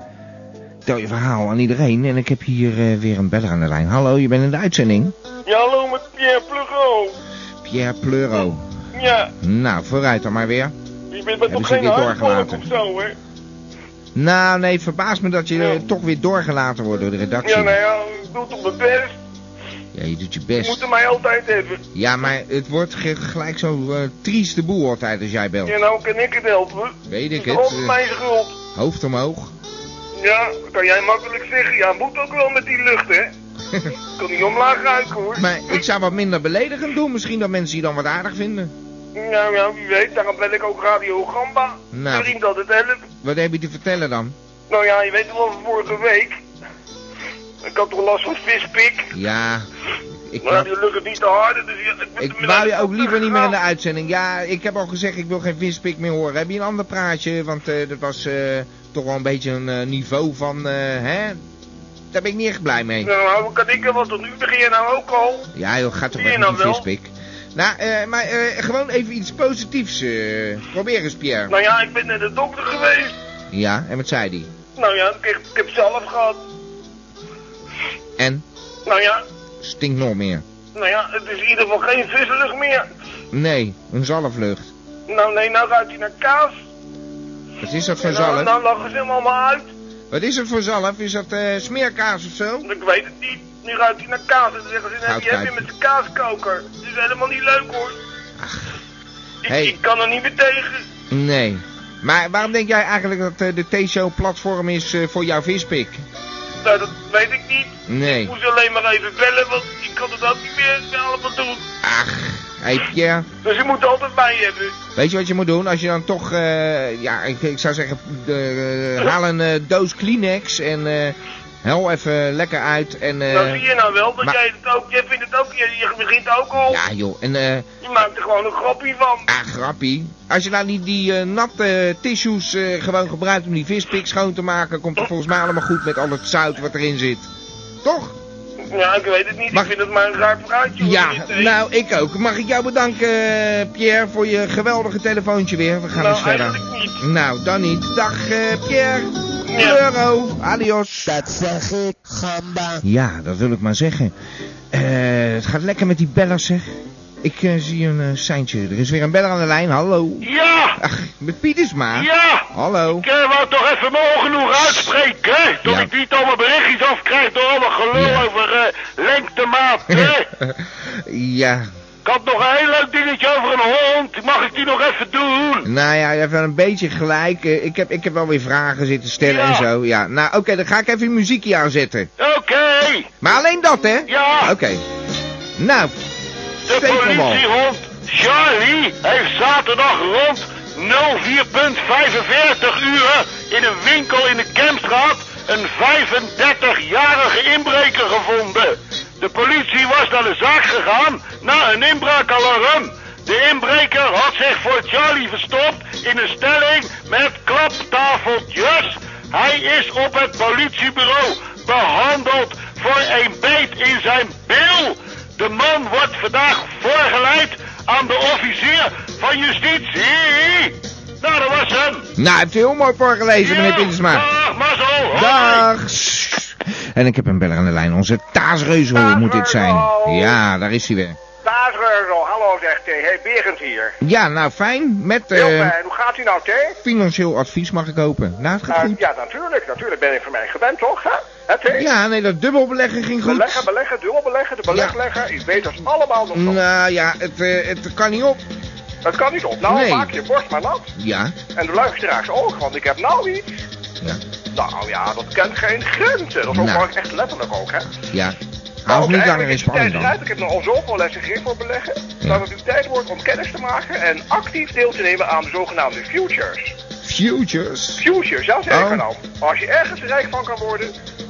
A: Tel je verhaal aan iedereen en ik heb hier eh, weer een beller aan de lijn. Hallo, je bent in de uitzending.
F: Ja, hallo met Pierre Plugo.
A: Pierre Pleuro.
F: Ja,
A: Nou, vooruit dan maar weer.
F: je bent met
A: Hebben
F: toch
A: ze
F: geen
A: dit
F: hardbalk
A: doorgelaten?
F: of zo, hè?
A: Nou, nee, verbaast me dat je eh, toch weer doorgelaten wordt door de redactie.
F: Ja, nou ja, ik doe toch mijn best.
A: Ja, je doet je
F: Je
A: best.
F: moet er mij altijd hebben.
A: Ja, maar het wordt ge- gelijk zo eh trieste boel altijd als jij belt.
F: Ja, nou kan ik het helpen.
A: Weet ik
F: Het is
A: het.
F: altijd mijn
A: eh,
F: schuld.
A: hoofd omhoog.
F: Ja, dat kan jij makkelijk zeggen. Ja, moet ook wel met die lucht, hè? kan niet omlaag ruiken, hoor.
A: Maar ik zou wat minder beledigend doen. Misschien dat mensen die dan wat aardig vinden.
F: Nou ja, wie weet, daarom ben ik ook Radio Gamba.
A: Nou.
F: Misschien dat het helpt.
A: Wat heb je te vertellen dan?
F: Nou ja, je weet wel van vorige week. Ik had toch last van Nou vispik.
A: Ja, ik,
F: Maar die lukken niet te hard. Dus ja, ik, moet
A: ik
F: hem
A: wou je
F: even
A: ook liever niet meer in de
F: teruggaan.
A: uitzending. Ja, ik heb al gezegd, ik wil geen vispik meer horen. Heb je een ander praatje? Want eh, dat was eh, toch wel een beetje een eh, niveau van, eh, hè? Daar ben ik niet echt blij mee.
F: Nou, hoe kan ik er wat tot nu begin je nou ook al?
A: Ja, joh, gaat toch
F: Zie
A: weg
F: je
A: met die
F: nou wel?
A: vispik. Nou, eh, maar eh, gewoon even iets positiefs. eh. probeer eens, Pierre.
F: Nou ja, ik ben naar de dokter geweest.
A: Ja, en wat zei die?
F: Nou ja, ik, ik heb zelf gehad.
A: En?
F: Nou ja,
A: Stinkt nog meer.
F: nou ja, het is in ieder geval geen vislucht meer.
A: Nee, een zalflucht.
F: Nou nee, nou ruikt hij naar kaas.
A: Wat is dat voor
F: En nou,
A: zalf?
F: nou lachen ze hem allemaal uit.
A: Wat is dat voor zalf? Is dat eh, smeerkaas of zo?
F: Ik weet het niet. Nu ruikt hij naar kaas. En dan zeggen ze, nou, die heb je met de kaaskoker. Het is helemaal niet leuk hoor. Ik,
A: Hey.
F: ik kan er niet meer tegen.
A: Nee. Maar waarom denk jij eigenlijk dat eh, de T-show platform is eh, voor jouw vispik?
F: Nou, dat weet ik niet. Ik
A: Nee.
F: moest alleen maar even bellen, want ik kan het ook niet meer allemaal doen.
A: Ach, hey Pierre.
F: Dus je moet altijd bij je hebben.
A: Weet je wat je moet doen? Als je dan toch, eh, ja, ik, ik zou zeggen, eh, eh, haal een eh, doos Kleenex en eh hel even lekker uit. En, eh,
F: nou zie je nou wel, dat
A: maar-
F: jij het ook, jij vindt het ook, je, je begint ook al.
A: Ja joh, en eh,
F: Je maakt er gewoon een grapje van.
A: ah, grappie. Als je nou die, die eh, natte tissues eh, gewoon gebruikt om die vispik schoon te maken, komt het volgens mij allemaal goed met al het zout wat erin zit. Toch?
F: Ja, ik weet het niet,
A: Mag-
F: ik vind het maar een raar praatje. hoor.
A: Ja,
F: Niet, hè?
A: nou ik ook. Mag ik jou bedanken, eh, Pierre, voor je geweldige telefoontje weer. We gaan
F: Nou,
A: eens verder.
F: eigenlijk niet.
A: Nou, dan niet. Dag eh, Pierre.
F: Ja.
A: Euro. Adios.
H: Dat zeg ik, gamba.
A: Ja, dat wil ik maar zeggen. Eh, het gaat lekker met die bellers, zeg. Ik eh, zie een eh, seintje. Er is weer een beller aan de lijn. Hallo.
C: Ja!
A: Ach, met Pietersma.
C: Ja!
A: Hallo.
C: Ik eh, wou toch even mijn ongenoegen uitspreken, hè? Dat
A: Ja.
C: ik niet allemaal berichtjes afkrijg door alle gelul
A: Ja.
C: over eh, lengtemaat, hè?
A: ja,
C: ik had nog een heel leuk dingetje over een hond. Mag ik die nog even doen?
A: nou ja, je hebt wel een beetje gelijk. Eh, ik, heb, ik heb wel weer vragen zitten stellen
C: Ja.
A: en zo. Ja, nou oké, dan ga ik even een muziekje aanzetten.
C: Oké!
A: Maar alleen dat, hè?
C: Ja.
A: Oké. Nou,
C: De
A: Stekelman.
C: politiehond Charlie heeft zaterdag rond 04.45 uur in een winkel in de Kempstraat een 35-jarige inbreker gevonden. De politie was naar de zaak gegaan na een inbraakalarm. De inbreker had zich voor Charlie verstopt in een stelling met klaptafeltjes. Hij is op het politiebureau behandeld voor een beet in zijn bil. De man wordt vandaag voorgeleid aan de officier van justitie. Nou, dat was hem.
A: nou, hebt u heel mooi voorgelezen, meneer Pietersma.
C: Dag, mazzel. Hoi.
A: Dag! En ik heb een beller aan de lijn. Onze Taasreuzel moet dit zijn. Ja, daar is hij weer.
F: Daar, eh, oh, hallo zegt hij. Hey, Berend hier.
A: Ja, nou fijn. Met
F: Heel
A: eh,
F: fijn, hoe gaat u nou, Thee?
A: financieel advies mag ik hopen. Nou, het gaat
F: Eh,
A: goed.
F: ja, natuurlijk, natuurlijk ben ik van mij gewend, toch? Hè, Hè, Thee?
A: Ja, nee, dat dubbelbeleggen ging
F: Beleggen,
A: goed.
F: beleggen, dubbel beleggen, de beleglegger. U weet dat allemaal nog van.
A: Nou ja, het, eh, het kan niet op.
F: Dat kan niet op. Nou,
A: Nee.
F: maak je borst maar nat.
A: Ja,
F: En de luisteraars ook, want ik heb nou iets.
A: ja,
F: Nou ja, dat kent geen grenzen. Dat is ook
A: Nou.
F: wel echt letterlijk ook, hè.
A: ja.
F: Nou,
A: Hou
F: ook
A: niet langer in
F: eigenlijk is het tijd
A: spanning dan.
F: eruit. Ik heb nog al zoveel lessen gegeven voor beleggen.
A: Ja.
F: Dat het nu tijd wordt om kennis te maken en actief deel te nemen aan de zogenaamde futures.
A: Futures.
F: Futures, ja zeker
A: Oh.
F: dan. Als je ergens rijk van kan worden,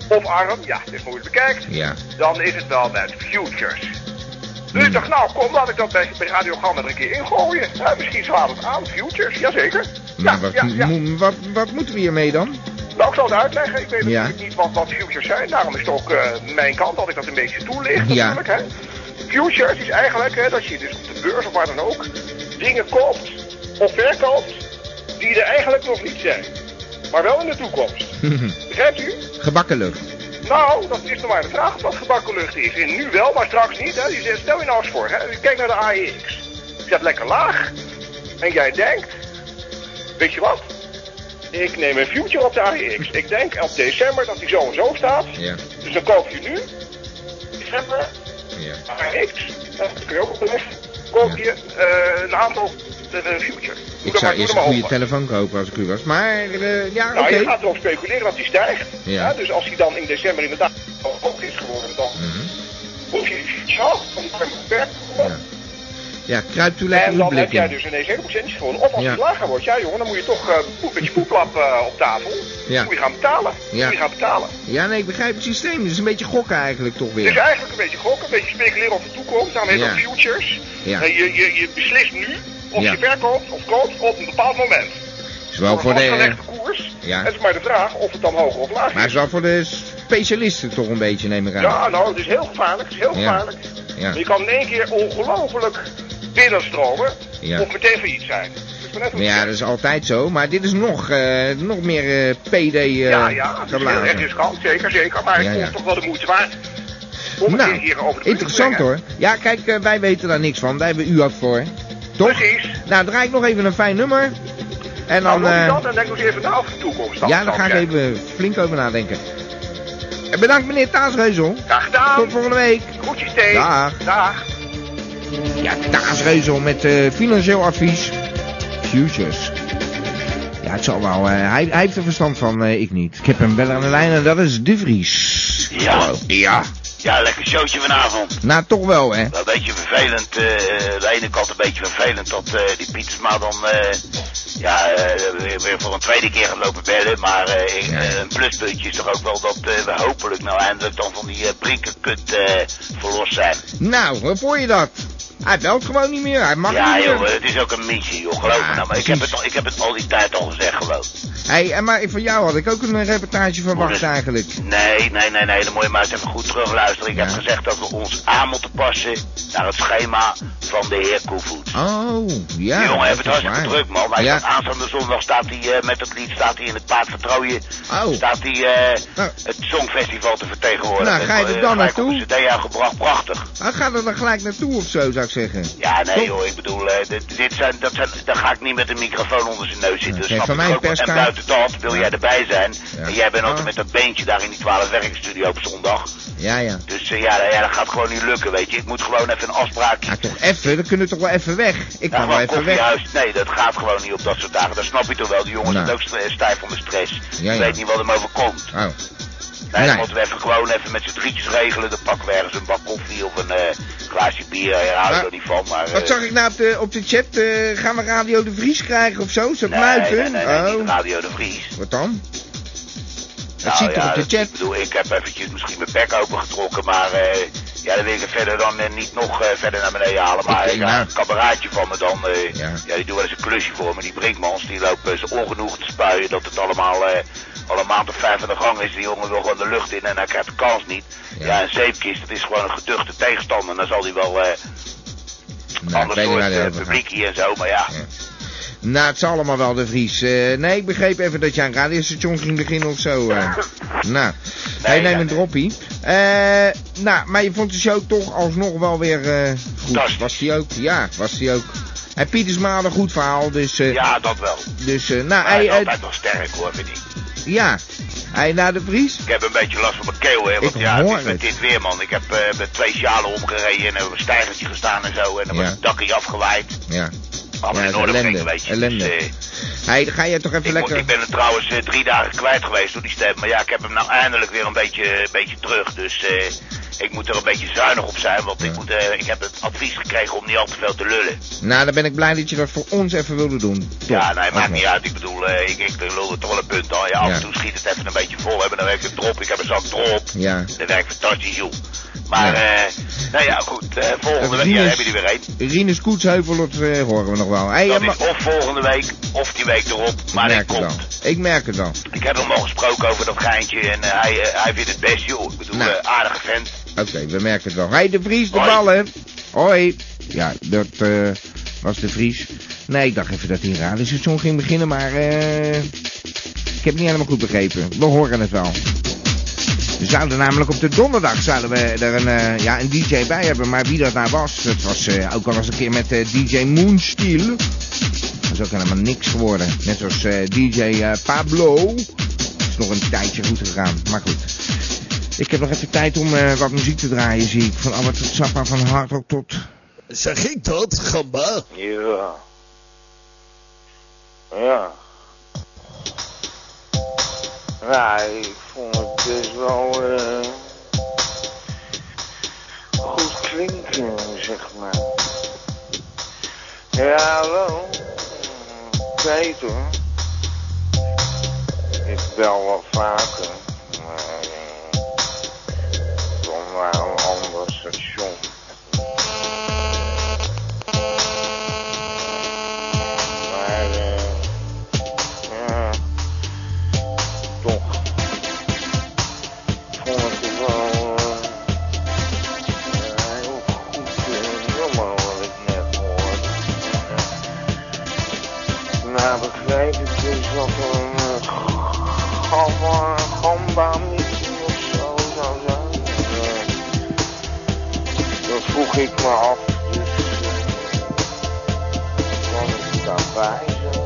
F: of arm, ja, dit moet je bekijkt,
A: Ja.
F: dan is het wel met futures. Dus ik dacht, nou kom, laat ik dat bij, bij Radio Gamma er een keer ingooien. Ja, misschien slaat het aan, futures, jazeker. Ja,
A: Maar Nou, wat,
F: ja, ja.
A: mo- wat, wat moeten we hiermee dan?
F: Nou, ik zal het uitleggen. Ik weet
A: Ja.
F: natuurlijk niet wat, wat futures zijn. Daarom is het ook eh, mijn kant dat ik dat een beetje toelicht
A: Ja.
F: natuurlijk. Hè. Futures is eigenlijk hè, dat je dus op de beurs of waar dan ook dingen koopt of verkoopt die er eigenlijk nog niet zijn. maar wel in de toekomst. Begrijpt u?
A: Gebakken lucht.
F: Nou, dat is nog maar de vraag wat gebakken lucht is. En nu wel, maar straks niet. Hè? Je zegt, stel je nou eens voor, hè? kijk naar de AEX. Die staat lekker laag. En jij denkt, weet je wat? Ik neem een future op de AEX. Ik denk op december dat die zo en zo staat.
A: Ja,
F: Dus dan koop je nu, december,
A: ja.
F: AEX. Nou, Dat kun je ook op de rest. Koop je eh, een aantal de, de future.
A: Ik
F: Doe dat
A: zou
F: maar, doe
A: eerst
F: er
A: een
F: maar
A: goede
F: over.
A: telefoon kopen als ik u was. Maar, eh, ja, oké.
F: Nou, je gaat erop speculeren dat die stijgt.
A: Ja.
F: Hè, Dus als die dan in december inderdaad ook is geworden, dan
A: Mhm.
F: hoef je die zo van de arme beperkt te worden.
A: Ja, kruipt u lekker
F: Oh. En
A: uw
F: dan heb
A: blik
F: jij
A: in.
F: dus ineens hele procentjes gewonnen. Of als
A: Ja.
F: die lager wordt, ja jongen, dan moet je toch eh, poe- met je poeplap eh, op tafel.
A: Ja.
F: Moet je gaan betalen.
A: Ja.
F: Moet je gaan betalen.
A: Ja, nee, ik begrijp het systeem. Het is een beetje gokken eigenlijk toch
F: Het is
A: weer.
F: eigenlijk een beetje gokken, een beetje speculeren op de toekomst. Daarom heet
A: Ja.
F: dat futures.
A: Ja.
F: Eh, je, je, je beslist nu of
A: Ja.
F: je verkoopt of koopt op een bepaald moment.
A: Het is wel voor de...
F: Een
A: eh,
F: koers.
A: Ja.
F: Het is maar de vraag of het dan hoger of lager
A: Maar het is wel voor de specialisten toch een beetje, neem ik aan.
F: Ja, nou, het is heel gevaarlijk. Het is heel
A: Ja.
F: gevaarlijk.
A: Ja.
F: Je kan in één keer ongelooflijk binnenstromen
A: Ja.
F: of meteen failliet zijn. Dus maar net hoe
A: Maar ja,
F: het
A: dat
F: is.
A: is altijd zo. Maar dit is nog, eh, nog meer eh PD eh
F: ja, ja, het is heel
A: geblazen.
F: erg riskant, zeker, zeker. Maar
A: Ja,
F: het
A: ja.
F: is toch wel de moeite waard om het
A: Nou,
F: hier over de
A: interessant hoor. Ja, kijk, eh, wij weten daar niks van. Daar hebben we u af voor. Toch?
F: Precies.
A: Nou, draai ik nog even een fijn nummer. En dan...
F: Dan, nou,
A: eh,
F: dat en denk nog eens even na over de toekomst.
A: ja, daar
F: zou
A: ga ik
F: zeggen.
A: even flink over nadenken. En bedankt meneer Taasreuzel.
F: Graag gedaan.
A: Tot volgende week.
F: Groetjes, Thee.
A: Dag.
F: Dag.
A: Ja, Taasreuzel met eh, financieel advies. Futures. Ja, het zal wel. eh, hij, hij heeft er verstand van, eh, ik niet. Ik heb hem wel aan de lijn en dat is De Vries.
E: Ja.
A: Ja.
E: Ja, lekker showtje vanavond.
A: Nou, toch wel, hè?
E: Wel Een beetje vervelend, eh, aan de ene kant een beetje vervelend dat eh, die Pietersma dan eh, ja, eh, weer, weer voor een tweede keer gaat lopen bellen. Maar eh, ik- eh, een pluspuntje is toch ook wel dat eh, we hopelijk nou eindelijk dan van die eh brinkenkut eh verlost zijn.
A: Nou, hoe vond je dat? Hij belt gewoon niet meer. Hij mag
E: ja
A: niet meer.
E: joh, eh, het is ook een missie joh, geloof
A: Ja,
E: me nou. Maar ik heb,
A: precies.
E: het al, ik heb het al die tijd al gezegd gewoon.
A: Hey, en maar van jou had ik ook een reportage verwacht
E: Moeder.
A: eigenlijk.
E: Nee, nee, nee, nee, dan moet je maar eens even goed terugluisteren. Ik
A: Ja.
E: heb gezegd dat we ons aan moeten passen naar het schema van de heer Koevoet.
A: Oh, ja.
E: Die jongen
A: dat
E: heeft het
A: is
E: hartstikke
A: waar.
E: druk, man. Hij
A: ja.
E: staat aanstaande zondag staat hij eh, met het lied staat hij in het paard van Troje.
A: Oh.
E: Staat hij eh,
A: Nou.
E: het Songfestival te vertegenwoordigen.
A: Nou, ga je er
E: Eh,
A: dan
E: gelijk op
A: naartoe?
E: een CD uitgebracht, prachtig.
A: Hij gaat er dan gelijk naartoe of zo, zou ik zeggen.
E: Ja, nee
A: Toch?
E: joh, ik bedoel, eh, dit, dit zijn, dat zijn, daar ga ik niet met een microfoon onder zijn neus zitten.
A: Nou,
E: dat
A: geef
E: snap
A: van
E: ik
A: mij een
E: ook wel. En
A: perskaart.
E: buiten dat wil
A: Ja.
E: jij erbij zijn.
A: Ja.
E: En jij bent altijd
A: Ah.
E: met dat beentje daar in die 12 werkstudio op zondag.
A: Ja, ja.
E: Dus eh, ja, ja, dat gaat gewoon niet lukken, weet je. Ik moet gewoon even een afspraak
A: Ja, toch even. Dan kunnen we toch wel even weg. Ik kan
E: Ja,
A: wel
E: maar
A: even weg.
E: koffiehuis, nee, dat gaat gewoon niet op dat soort dagen. Dat snap je toch wel. Die jongens
A: Nou.
E: zijn ook stre- stijf onder stress.
A: Ja, ja.
E: Ik weet niet wat hem overkomt.
A: Oh,
E: Nee,
A: Nee.
E: dan moeten we even gewoon even met z'n drietjes regelen. Dan pakken we ergens een bak koffie of een eh, glaasje bier. Ja, daar hou ik
A: Maar-
E: er niet van, maar... eh,
A: wat zag ik nou op de, op de chat? Eh, gaan we Radio de Vries krijgen of zo? Zo
E: Nee,
A: fluiten?
E: nee, nee, nee, niet
A: oh,
E: Radio de Vries.
A: wat dan? Dat
E: Nou,
A: ziet er
E: ja,
A: op de
E: dat-
A: chat.
E: Ik bedoel, ik heb eventjes misschien mijn bek opengetrokken, maar... eh, ja, dan wil ik het verder dan eh, niet nog eh, verder naar beneden halen. Maar
A: Oké,
E: ik, ja,
A: nou.
E: een kameraadje van me dan... eh,
A: Ja.
E: ja. die doen wel eens een klusje voor me. Die Brinkmans, die loopt eh, zijn ongenoeg te spuien dat het allemaal... eh, al een maand of vijf aan de gang is, die jongen wil gewoon de lucht in en hij krijgt de kans niet.
A: Ja.
E: Ja, een zeepkist, dat is gewoon een geduchte tegenstander. En dan zal hij wel eh
A: Nou, ik
E: ander
A: weet niet
E: soort
A: waar die
E: eh,
A: over gaat.
E: publiek hier en zo, maar ja.
A: Ja. Nou, het is allemaal wel de Vries. Eh, nee, ik begreep even dat je aan radiostation ging beginnen of zo. eh. nou, hey, neem
E: ja,
A: een
E: nee.
A: droppie. Eh, nou, maar je vond de show toch alsnog wel weer eh, goed.
E: Fantastisch.
A: Was die ook? Ja, was die ook. En Piet is maar had een goed verhaal, dus... eh,
E: Ja, dat wel.
A: Dus, eh, nou,
E: Maar hij
A: hij,
E: is
A: eh,
E: altijd nog sterk hoor, vind ik.
A: ja. Hij naar de Vries?
E: Ik heb een beetje last van mijn keel, hè. Want
A: Ik
E: ja, het
A: hoor
E: is met
A: het.
E: dit weer, man. Ik heb eh, met twee sjalen omgereden en op een stijgertje gestaan en zo. En dan
A: Ja.
E: was het dakje afgewaaid.
A: Ja.
E: Allemaal
A: Ja,
E: in
A: het
E: orde
A: ellende,
E: brengen, weet je.
A: ellende.
E: Dus, eh, ik
A: Hij, ga jij toch even
E: moet-
A: lekker...
E: ik ben er trouwens eh, drie dagen kwijt geweest door die stem. Maar ja, ik heb hem nou eindelijk weer een beetje, een beetje terug. Dus eh, ik moet er een beetje zuinig op zijn. Want
A: Ja.
E: ik, moet, eh, ik heb het advies gekregen om niet al te veel te lullen.
A: Nou, dan ben ik blij dat je dat voor ons even wilde doen. Toch, Ah.
E: Ja, nee, maakt
A: alsnog.
E: niet uit. Ik bedoel, eh, ik, ik lul er toch wel een punt aan. Ja, af
A: Ja.
E: en toe schiet het even een beetje vol. Hè, maar dan werkt het erop. Ik heb een zak erop.
A: Ja.
E: Dat werkt fantastisch, joh. Maar,
A: Ja.
E: eh, nou ja, goed. eh, volgende week ja,
A: Rinus-
E: heb je er weer een.
A: Rinus Koetsheuvel, dat eh, horen we nog wel. Hey,
E: Dat
A: eh, ma-
E: is of volgende week, of die week erop. Maar
A: ik
E: hij
A: merk het
E: komt.
A: wel. Ik merk het wel.
E: Ik heb hem al gesproken over dat geintje. En eh, hij, eh, hij vindt het best, joh. Ik bedoel,
A: Nou.
E: eh, aardige vent.
A: Oké, we merken het wel. Hey, de Vries, de
E: Hoi.
A: ballen. Hoi. Ja, dat eh, was de Vries. Nee, ik dacht even dat hij een radiostation ging beginnen, maar... eh Ik heb het niet helemaal goed begrepen. We horen het wel. We zouden namelijk op de donderdag zouden we er een, eh, ja, een DJ bij hebben. Maar wie dat nou was, dat was eh, ook al eens een keer met eh, DJ Moonsteel. Dat is ook helemaal niks geworden. Net zoals eh, DJ eh, Pablo. Dat is nog een tijdje goed gegaan. Maar goed. Ik heb nog even tijd om eh, wat muziek te draaien, zie ik. Van Abba tot Sappa, van Hardrock tot...
J: Zeg ik dat, gamba?
K: Ja. Ja. Nou, ik vond het best wel eh, goed klinken, zeg maar. Ja, hallo. Tijd hoor. Ik bel wel vaker, maar eh, kom naar een ander station. Maar eh, ja, toch. Ik vond het wel eh, een heel goed eh, nummer wat ik net hoorde. Nou begrijp ik dus dat er een eh, gamba, gamba missie of zo zou zijn. Eh, Dat vroeg ik me af, dus eh, kan ik daarbij zijn? Eh,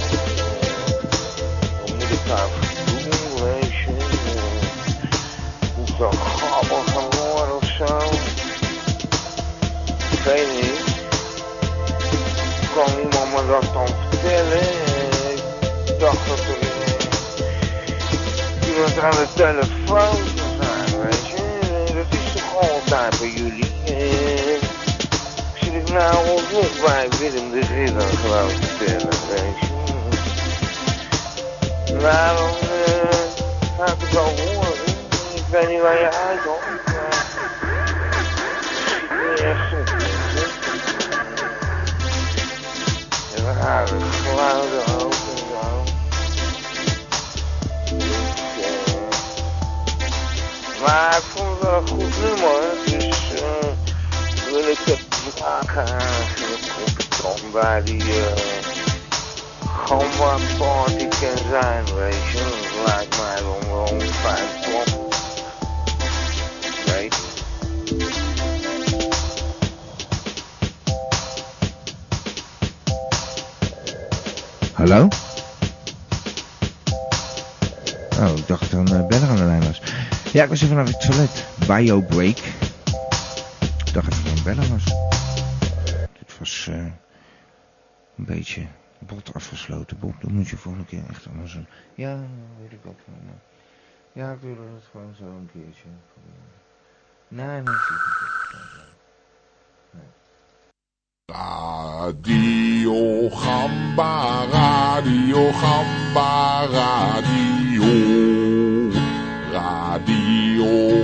K: Wat moet ik daarvoor doen, weet je? Eh, Moet dat gabber gaan worden of zo? Ik weet niet. Kan iemand me dat dan vertellen? Eh, Ik dacht dat er eh, iemand aan de telefoon zou zijn, weet je? Eh, Dat is toch altijd bij jullie? Eh, Zit ik nou alsnog bij Willem de Ridder gewoon vertellen, weet je? Nou, dan eh, ga ik het wel horen. Ik weet niet waar je uit hoor. maar Het zit niet echt op, weet je? Rare geluiden ook en zo. Dus, eh, Maar ik vond het wel een goed nummer, dus eh, wil ik het vragen eigenlijk of het dan bij die eh gamba party kan zijn, weet je. Dat lijkt mij dan wel een fijn plan. Weet je.
A: Hallo? Oh, ik dacht dat er een eh, beller aan de lijn was. Ja, ik was even naar het toilet. Biobreak. Ik dacht dat er een beller was. Dit was eh, een beetje bot afgesloten. Bob, dat moet je volgende keer echt anders doen. Ja, weet ik ook wel. maar- Ja, ik wil het gewoon zo een keertje. Nee, mensen.
L: Radio Gamba, Radio Gamba, Radio. Radio